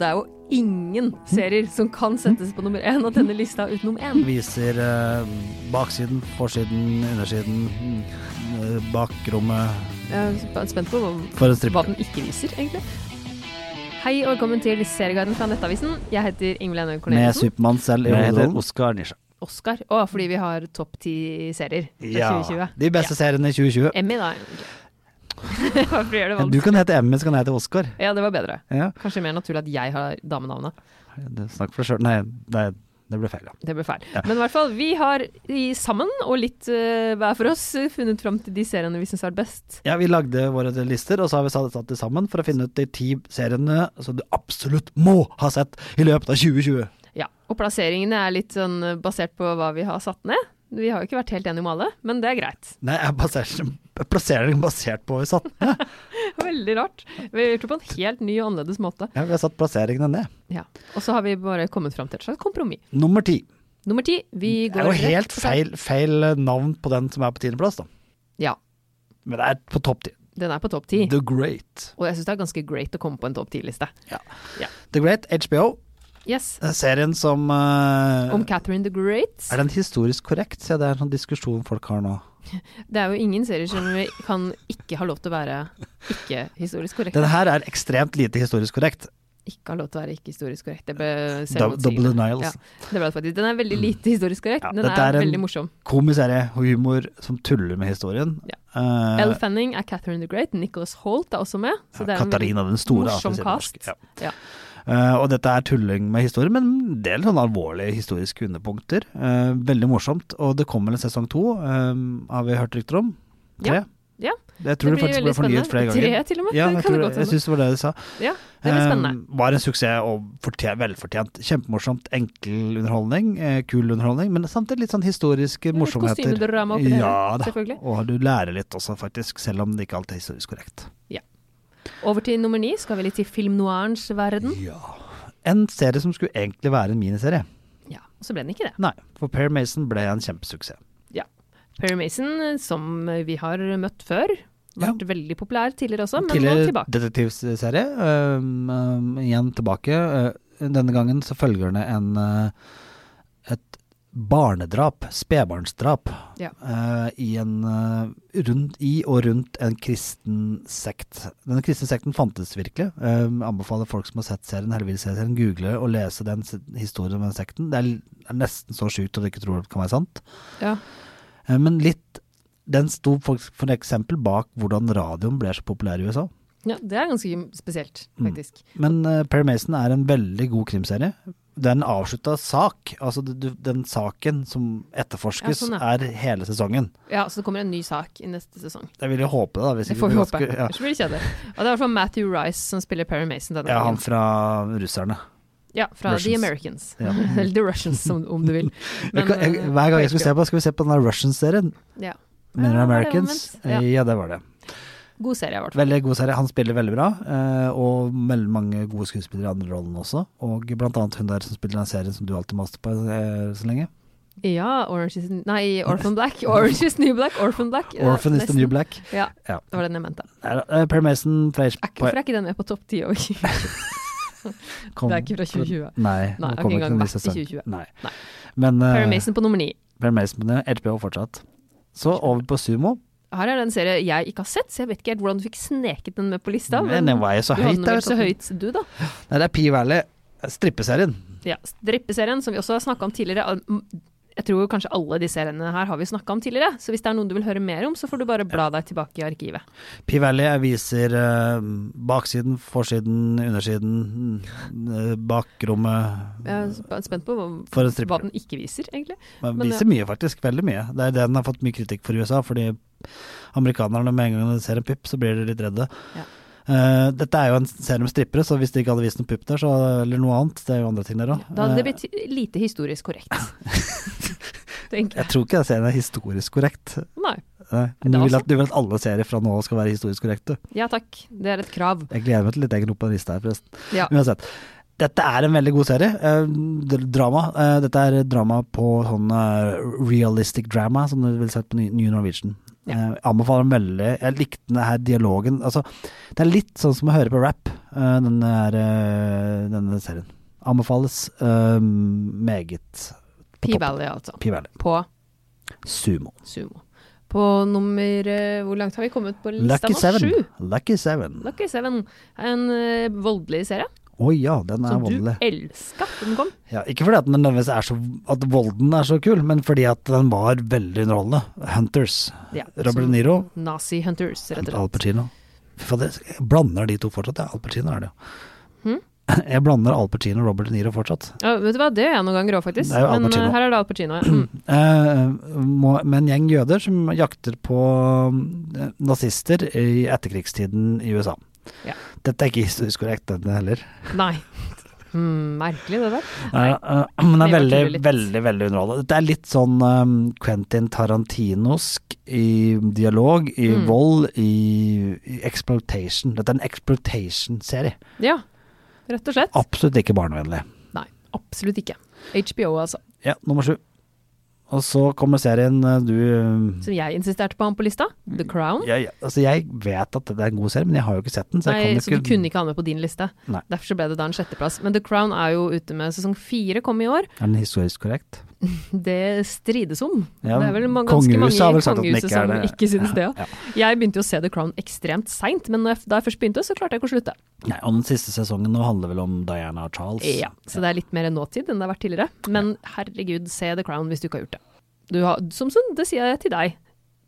Det er jo ingen serier som kan settes på nummer én av denne lista utenom én. Viser eh, baksiden, forsiden, undersiden, eh, bakrommet Jeg er spent på hva- for en hva stripper. den ikke viser, egentlig. Hei og velkommen til Serieguiden fra Nettavisen. Jeg heter Ingvild Enøy Med Corneliussen. Supermann selv i Jeg heter hovedrollen. Oskar Nisja. Oscar. Å, fordi vi har topp ti serier fra 2020. De beste seriene i 2020. Emmy, da. egentlig. Hvorfor gjør det Du vanskelig? kan hete Emmy, så kan jeg hete Oskar. Ja, det var bedre. Ja, Kanskje mer naturlig at jeg har damenavnet. det- snakk for deg sjøl. Nei, nei, det ble feil. Ja. Det ble feil. Men i hvert fall, vi har i, sammen, og litt eh, hver for oss, eh, funnet fram til de seriene vi syns er best. Ja, Vi lagde våre lister, og så har vi satt satt det sammen for å finne ut de ti seriene som du absolutt må ha sett i løpet av 2020. Ja, og plasseringene er litt sånn eh, basert på hva vi har satt ned. Vi har jo ikke vært helt enige om alle, men det er greit. Nei, jeg baserer, jeg plasserer den basert på hva vi satt. Veldig rart. Vi har gjort det på en helt ny og annerledes måte. Ja, vi har satt plasseringene ned. Ja. Og så har vi bare kommet fram til et slags kompromiss. Nummer ti. Nummer ti, vi Det går er jo rett helt på sak. feil, feil navn på den som er på tiendeplass, da. Ja, Men det er på topp ti. den er på topp ti. The Great. Og jeg syns det er ganske great å komme på en topp ti-liste. The Great HBO, Yes. eh, serien som eh, Om Catherine the Great. Er den historisk korrekt? Se, det er en sånn diskusjon folk har nå. Det er jo ingen serier som vi kan ikke ha lov til å være ikke historisk korrekt. Den her er ekstremt lite historisk korrekt. Ikke ha lov til å være ikke historisk korrekt. Det ble Dou- Double selvmotsigende. denials. Ja, det ble det faktisk. Den er veldig lite historisk korrekt. Ja, Den dette er, er en- veldig morsom. Komisk serie og humor som tuller med historien. Ja. Eh, Elle Fanning er Catherine the Great. Nicholas Holt er også med. Så det er en veldig Katarina den store. da, morsom for å si det cast. norsk. Ja. Ja. Eh, og dette er tulling med historie, men en del sånne sånn alvorlige historiske underpunkter. Eh, veldig morsomt. Og det kommer en sesong to, eh, har vi hørt rykter om. Tre. Ja, ja. Jeg tror det, blir faktisk veldig ble fornyet flere spennende. ganger. Tre til og med. Ja, det kan jeg, tror, det godt jeg hende. synes det var det de sa. Ja, det blir spennende. Eh, var en suksess og fortjent, velfortjent. Kjempemorsomt, enkel underholdning. Eh, kul underholdning, men samtidig litt sånn historiske Litt morsomheter. kostymedrama oppi det ja, hele, da. selvfølgelig. Og du lærer litt også, faktisk, selv om det ikke alltid er historisk korrekt. Over til nummer ni. Skal vi litt til film noirens verden? Ja. En serie som skulle egentlig være en miniserie. Ja. Og så ble den ikke det. Nei, for Per Mason ble en kjempesuksess. Perry Mason, eh, som vi har møtt før. Vært veldig populær tidligere også, men nå Tidligere tilbake. detektivserie. øhm, øhm, igjen tilbake. Øh, denne gangen så følger det en øh, et barnedrap, spedbarnsdrap, Ja. øh, i, en, øh, rundt, i og rundt en kristen sekt. Denne kristne sekten fantes virkelig. Øhm, anbefaler folk som har sett serien, eller vil se serien, google og lese den se- historien om den sekten. Det er, l- er nesten så sjukt at du ikke tror det kan være sant. Ja. Eh, Men litt den sto for, for eksempel bak hvordan radioen ble så populær i USA. Ja, det er ganske spesielt, Mm. faktisk. Men eh, Perry Mason er en veldig god krimserie. Det er en avslutta sak. Altså du- du- den saken som etterforskes, Ja, sånn, er hele sesongen. Ja, så det kommer en ny sak i neste sesong. Jeg vil jo håpe det, da. Hvis Det ikke får vi blir håpe. ganske- Ja. Ellers blir det kjedelig. Og det er i hvert fall Matthew Rice som spiller Perry Mason denne ja, han gangen. fra russerne. Ja, fra Russians. The Americans. Ja. Eller The Russians, om, om du vil. Men, jeg, kan- jeg, eh, hver gang jeg skulle se på, skal vi se på den der Russian-serien. Ja. Ja, var Mener du det Americans? omvendt? Ja. Eh, Ja, det var det. God serie, i hvert fall. Veldig god serie. Han spiller veldig bra, eh, og veldig mange gode skuespillere i andre rollene også. Og blant annet hun der som spiller den serien som du alltid master på eh, så lenge. Ja, Orange is Nei, Orphan Black. Orange is New Black. Orphan Black. eh, Orphan is the nesten. New Black. Ja, Ja. det var den jeg mente. Nei da, eh, Per Mason fra Er ikke- Hvorfor er ikke den med på topp ti òg? Det kom- er ikke fra 2020. Nei, Nei, nå har ikke kommer engang ikke noen vært ny i 2020. sesong. Nei. Nei. Men eh, Perry Mason på nummer ni. Per Mason på det, HBO fortsatt. Så over på Sumo. Her er det en serie jeg ikke har sett, så jeg vet ikke helt hvordan du fikk sneket den med på lista. Men Men den du var jo så hadde høyt. den der, vel vet så du. høyt, du, da. Nei, det er Pea Valley, eh, strippeserien. Ja, Strippeserien, som vi også har snakka om tidligere. al- m- Jeg tror kanskje alle de seriene her har vi snakka om tidligere, så hvis det er noen du vil høre mer om, så får du bare bla deg tilbake i arkivet. Pea Valley viser eh, baksiden, forsiden, undersiden, eh, bakrommet Jeg er sp- spent på hva- for en hva stripper. den ikke viser, egentlig. Den men, viser mye, faktisk. Veldig mye. Det er det den har fått mye kritikk for i USA, fordi amerikanerne med en gang de ser en pupp, så blir de litt redde. Ja. Eh, dette er jo en serie om strippere, så hvis de ikke hadde vist noen pupp der, så, eller noe annet, det er jo andre ting der òg. Da hadde det blitt lite historisk korrekt. Tenker jeg. Eh, Jeg tror ikke den serien er historisk korrekt. Nei. Nei. Men det Du, er vil også- at, du vil at alle serier fra nå av skal være historisk korrekte. Ja takk, det er et krav. Jeg gleder meg til litt egen opp på den lista her, forresten. Ja. Uansett. Dette er en veldig god serie. Eh, d- drama. Eh, dette er drama på sånn eh, realistic drama, som du ville sett på Ny- New Norwegian. Ja. Eh, anbefaler den veldig. Jeg likte den her dialogen. Altså, det er litt sånn som å høre på rap, eh, denne, her, eh, denne serien. Anbefales eh, meget. P-Valley, altså. Piværlig. På Sumo. sumo. På nummer eh, Hvor langt har vi kommet på lista Lucky nå? Seven. Sju. Lucky Seven. Å Lucky Seven. En eh, voldelig serie ja, den er som du voldelig. elska da den kom. Ja, ikke fordi at den nødvendigvis er så At volden er så kul, men fordi at den var veldig underholdende. Hunters. Ja, Robert De som Niro. altså Nazi Hunters, rett og Al slett. Pacino. Fy fader, jeg blander de to fortsatt. Ja, Al Pacino er det jo. Hm? Jeg blander Al Pacino og Robert De Niro fortsatt. Ja, vet du hva, det gjør jeg noen ganger òg, faktisk. Det er jo Al Men Pacino. eh, her er det Al Pacino. Ja. Mm. Eh, må, med en gjeng jøder som jakter på eh, nazister i etterkrigstiden i USA. Ja. Dette er ikke historisk korrekt, denne heller. Nei. Hmm, merkelig, det der. Eh, eh, men det er Men jeg veldig, tuller litt. veldig veldig underholdende. Dette er litt sånn eh, Quentin Tarantinosk i dialog, i Mm. vold, i, i exploitation. Dette er en exploitation-serie. Ja, rett og slett. Absolutt ikke barnevennlig. Nei, absolutt ikke. HBO, altså. Ja, nummer sju. Og så kommer serien eh, du eh, Som jeg insisterte på han på lista. Mm. The Crown. jeg, altså jeg vet at det er en god serie, men jeg har jo ikke sett den. Så jeg Nei, kan så jo du ikke, kunne ikke ha med på din liste. Nei. Derfor så ble det da en sjetteplass. Men The Crown er jo ute med sesong fire, kom i år. Er den historisk korrekt? Det strides om. Ja, det er vel ma- ganske mange kongehuset har vel sagt at den kongehuset ikke er som det. ikke synes det. Ja, Ja. Jeg begynte jo å se The Crown ekstremt seint, men når jeg, da jeg først begynte, så klarte jeg ikke å slutte. Nei, og den siste sesongen nå handler vel om Diana og Charles. Ja, så det er litt mer nåtid enn det har vært tidligere. Men herregud, se The Crown hvis du ikke har gjort det. Du har, som sånn, det sier jeg til deg,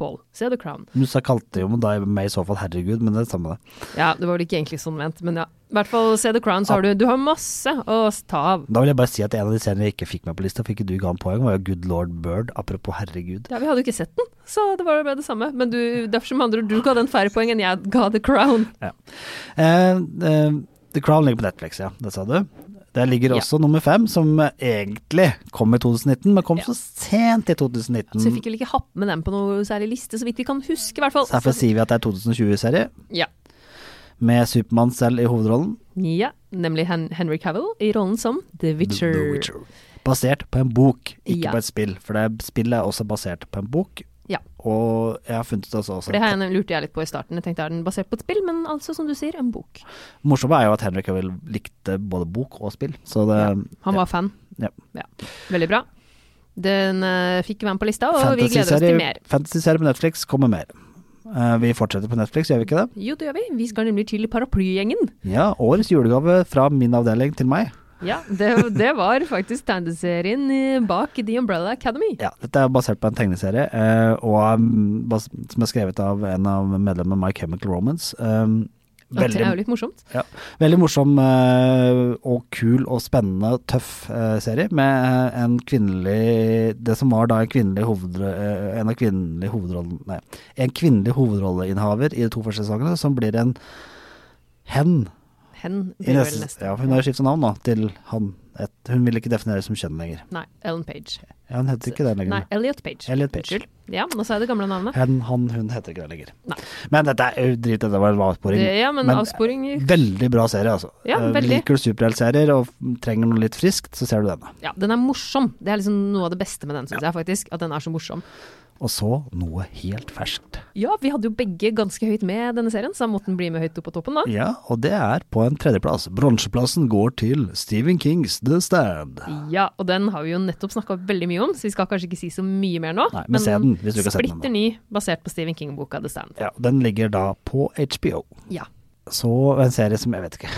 Paul. Se The Crown. Du sa kalte jo da meg i så fall herregud, men det er det samme det. Ja, det var vel ikke egentlig sånn ment, men ja. I hvert fall se The Crown, så har du Du har masse å ta av. Da vil jeg bare si at en av de seriene jeg ikke fikk med på lista, fikk ikke du ga en poeng, var jo Good Lord Bird, apropos herregud. Ja, Vi hadde jo ikke sett den, så det var bare det samme. Men du, derfor som andre, ord, du ga den færre poeng enn jeg ga The Crown. Eh, eh, The Crown ligger på Netflix, ja. Det sa du. Der ligger Ja. også nummer fem, som eh, egentlig kom i 2019, men kom Ja. så sent i 2019. Så Altså, jeg fikk vel ikke hatt med den på noe særlig liste, så vidt vi kan huske, i hvert fall. Så Derfor sier vi at det er 2020-serie, Ja. med Supermann selv i hovedrollen. ja. Nemlig Hen Henry Cavill i rollen som The Witcher. The Witcher. Basert på en bok, ikke Ja. på et spill. For det er- spillet er også basert på en bok. Ja. Og jeg har funnet ut også, også For det her lurte jeg litt på i starten. Jeg tenkte er den basert på et spill, men altså, som du sier, en bok. Morsomt er jo at Henrik Cavill likte både bok og spill. Så det Ja. Han var fan. Ja. Veldig bra. Den eh, fikk være med på lista, og vi gleder oss til mer. fantasyserie på Netflix kommer mer. Eh, vi fortsetter på Netflix, gjør vi ikke det? Jo, det gjør vi. Vi skal nemlig til paraplygjengen. Ja, årets julegave fra min avdeling til meg. Ja, det, det var faktisk tegneserien eh, bak The Umbrella Academy. Ja, dette er basert på en tegneserie eh, og, mm, bas som er skrevet av en av medlemmene av My Chemical Romance. Um, Ja, Det er jo veldig, litt morsomt. ja, veldig morsom eh, og kul og spennende og tøff eh, serie med en kvinnelig Det som var da en kvinnelig, hovedro eh, en av kvinnelig hovedrollen Nei, en kvinnelig hovedrolleinnehaver i de to første sesongene, som blir en hen. Hen I blir vel neste, neste. ja, hun har skifta navn da, til han. Et, hun vil ikke defineres som kjønn lenger. Nei, Ellen Page. Ja, hun heter ikke det lenger. Nei, Elliot Page. Elliot Page. Unnskyld. Ja, nå sa jeg det gamle navnet. Hen, han, hun heter ikke det lenger. Nei. Men dette er jo drit, dette var en avsporing. Det, ja, men, Men- eh, avsporing Veldig bra serie, altså. Ja, Eh, veldig. Liker du superheltserier og trenger noe litt friskt, så ser du denne. Ja, den er morsom. Det er liksom noe av det beste med den, syns jeg faktisk. At den er så morsom. Og så noe helt ferskt. Ja, vi hadde jo begge ganske høyt med denne serien, så da måtte den bli med høyt opp på toppen, da. Ja, og det er på en tredjeplass. Bronseplassen går til Stephen Kings The Stand. Ja, og den har vi jo nettopp snakka veldig mye om, så vi skal kanskje ikke si så mye mer nå. Nei, men se den, hvis du ikke har sett den splitter ny, basert på Stephen King-boka The Stand. Ja, den ligger da på HBO. Ja. Så en serie som jeg vet ikke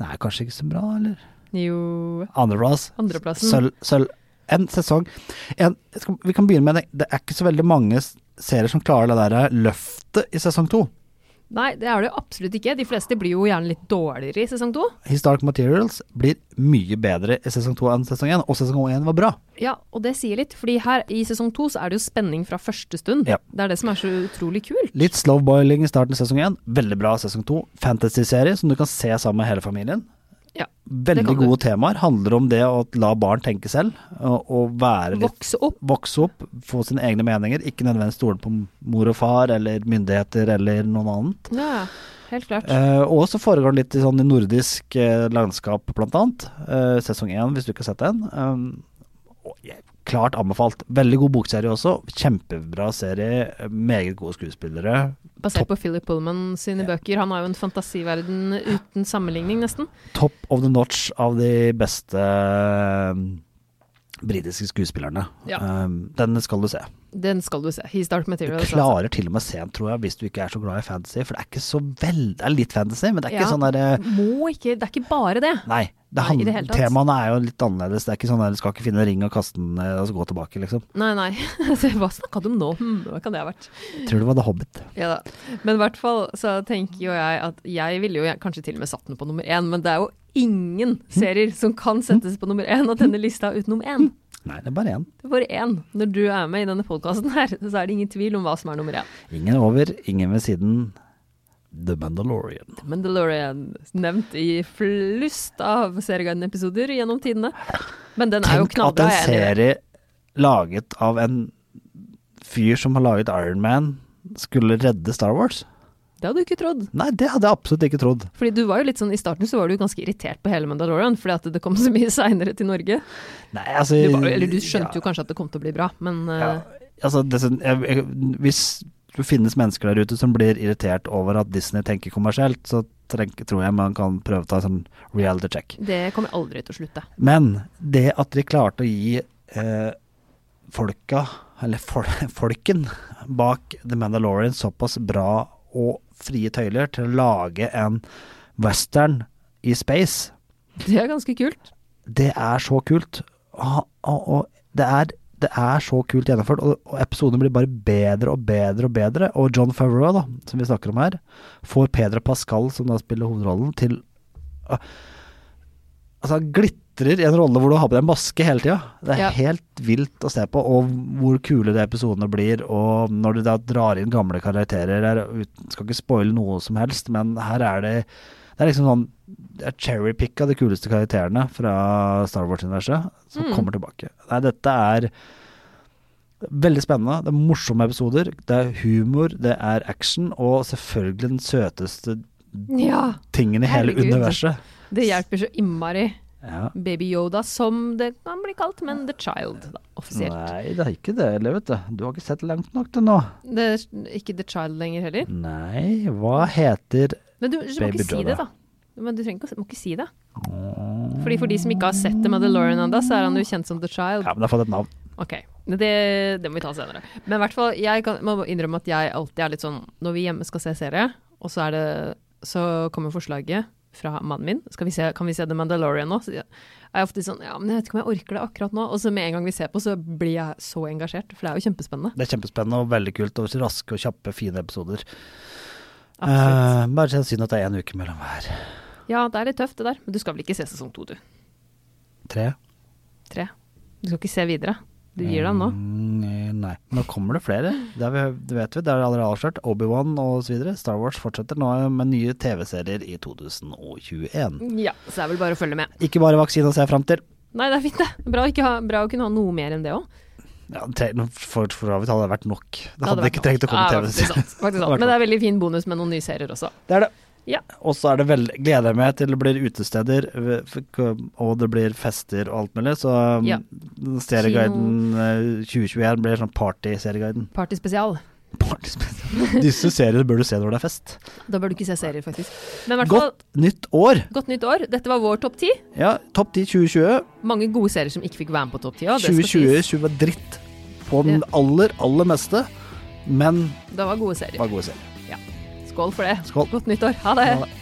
Den er kanskje ikke så bra, eller? Jo Andreplass. Andreplassen. Sølv. sølv. En sesong en, skal, Vi kan begynne med det. Det er ikke så veldig mange s- serier som klarer det der eh, løftet i sesong to. Nei, det er det jo absolutt ikke. De fleste blir jo gjerne litt dårligere i sesong to. His Dark Materials blir mye bedre i sesong to enn sesong én, og sesong én var bra. Ja, og det sier litt, fordi her i sesong to så er det jo spenning fra første stund. Ja. Det er det som er så utrolig kult. Litt slow boiling i starten av sesong én, veldig bra i sesong to. Fantasy-serie som du kan se sammen med hele familien. Ja, det Veldig kan du. gode temaer. Handler om det å la barn tenke selv, og, og være litt Vokse opp. vokse opp, få sine egne meninger, ikke nødvendigvis stole på mor og far eller myndigheter eller noen annet. Ja, helt klart. Eh, og så foregår det litt i sånn i nordisk eh, landskap, blant annet. Eh, sesong én, hvis du ikke har sett den. Um, og jeg Klart anbefalt. Veldig god bokserie også. Kjempebra serie. Meget gode skuespillere. Basert på Philip Pullman sine bøker. Han har jo en fantasiverden uten sammenligning, nesten. Top of the notch av de beste eh, britiske skuespillerne. Ja. Um, den skal du se. Den skal du se. He's Dark Du Material. altså. klarer til og med å se den, tror jeg, hvis du ikke er så glad i fantasy. For det er ikke så veld... Det er litt fantasy, men det er ikke Ja. sånn derre Må ikke Det er ikke bare det. Nei. Det Nei, i hand... det hele tatt. temaene er jo litt annerledes. Det er ikke sånn der du skal ikke finne en ring og kaste den eh, og så gå tilbake, liksom. Nei, nei. Hva snakka du om nå? Hm, hva kan det ha vært? Jeg tror det var The Hobbit. Ja da. Men i hvert fall så tenker jo jeg at jeg ville jo jeg- kanskje til og med satt den på nummer én, men det er jo ingen serier som kan settes på nummer én av denne lista uten nummer én. Nei, det er bare én. Det er bare én. Når du er med i denne podkasten her, så er det ingen tvil om hva som er nummer én. Ingen over, ingen ved siden. The Mandalorian. The Mandalorian, nevnt i flust av Serieguiden-episoder gjennom tidene. Men den er jo Tenk at knallbra. en jeg er enig i det. serie laget av en fyr som har laget Iron Man, skulle redde Star Wars. Det hadde du ikke trodd. Nei, det hadde jeg absolutt ikke trodd. Fordi du var jo litt sånn, I starten så var du jo ganske irritert på hele Mandalorian, fordi at det kom så mye seinere til Norge. Nei, altså Du, var, eller du ja. skjønte jo kanskje at det kom til å bli bra, men eh, Ja, altså, det, som- jeg, jeg, hvis det finnes mennesker der ute som blir irritert over at Disney tenker kommersielt, så treng, tror jeg man kan prøve å ta en sånn reality check. det kommer aldri til å slutte. Men det at de klarte å gi eh, folka, eller fol folken, bak The Mandalorian såpass bra og frie tøyler til å lage en western i space, Det er ganske kult. det er så kult. Og, og, og det, er, det er så kult gjennomført, og, og episoden blir bare bedre og bedre og bedre. Og John Favreau, da, som vi snakker om her, får Pedro Pascal, som da spiller hovedrollen, til å- Altså, han glitrer i en rolle hvor du har på deg en maske hele tida. Det er Ja. helt vilt å se på, og hvor kule de episodene blir. Og når du da drar inn gamle karakterer her, uten- skal ikke spoile noe som helst, men her er det det er liksom sånn det er cherrypicka de kuleste karakterene fra Star Wars-universet som Mm. kommer tilbake. Nei, dette er veldig spennende. Det er morsomme episoder. Det er humor, det er action, og selvfølgelig den søteste Ja, tingen i hele Herregud. universet. Det hjelper så innmari. Ja. Baby Yoda, som det kan bli kalt, men The Child, da, offisielt. Nei, det er ikke det, eller vet du. Du har ikke sett langt nok til nå. Det er ikke The Child lenger heller. Nei, hva heter Men du, du må Baby ikke si Yoda. det, da. Men du trenger ikke, å- må ikke si det. Fordi For de som ikke har sett The Mandalorian ennå, så er han jo kjent som The Child. Ja, men det har fått et navn. Ok, men det, det må vi ta senere. Men i hvert fall, jeg kan, må innrømme at jeg alltid er litt sånn Når vi hjemme skal se serie, og så, er det, så kommer forslaget fra mannen min skal vi se, Kan vi se The Mandalorian nå? Så jeg er ofte sånn Ja, men jeg vet ikke om jeg orker det akkurat nå. Og så med en gang vi ser på, så blir jeg så engasjert, for det er jo kjempespennende. Det er kjempespennende og veldig kult. Og raske og kjappe, fine episoder. Absolutt. Eh, bare synd at det er én uke mellom hver. Ja, det er litt tøft, det der. Men du skal vel ikke se sesong to, du? Tre. Tre? Du skal ikke se videre? Du gir deg nå? Mm, nei. Nå kommer det flere. Det, er vi, det vet vi. Det er allerede avslørt. Obi-Wan og så videre. Star Wars fortsetter nå med nye TV-serier i 2021. Ja, så det er vel bare å følge med. Ikke bare vaksine å se fram til. Nei, det er fint, det. Bra, å ikke ha, bra å kunne ha noe mer enn det òg. Ja, tre, nå for, for så vidt hadde det vært nok. Det hadde vært ikke noe. trengt å komme Ja, faktisk TV-serier. sant, faktisk sant. Men det er veldig fin bonus med noen nye serier også. Det er det. Ja. Og så er det vel, gleder jeg meg til det blir utesteder, og det blir fester og alt mulig. Så um, Ja. Serieguiden eh, 2021 blir sånn party-serieguiden. Party spesial. Disse seriene bør du se når det er fest. Da bør du ikke se serier, faktisk. Men i hvert fall, Godt nytt år! godt nytt år. Dette var vår topp ti. Ja, topp 10 2020. Mange gode serier som ikke fikk være med på topp ti. ja, det skal 2020 sies. 20 var dritt på den aller, aller meste, men Det var gode serier. var gode serier. Skål for det. Skål. Godt nytt år. Ha det. Ha det.